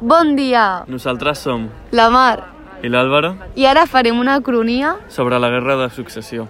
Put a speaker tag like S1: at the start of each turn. S1: Bon dia,
S2: Nosaltres som,
S1: la Mar.
S2: i l'Àlvaro,
S1: I ara farem una cronia
S2: sobre la guerra de successió.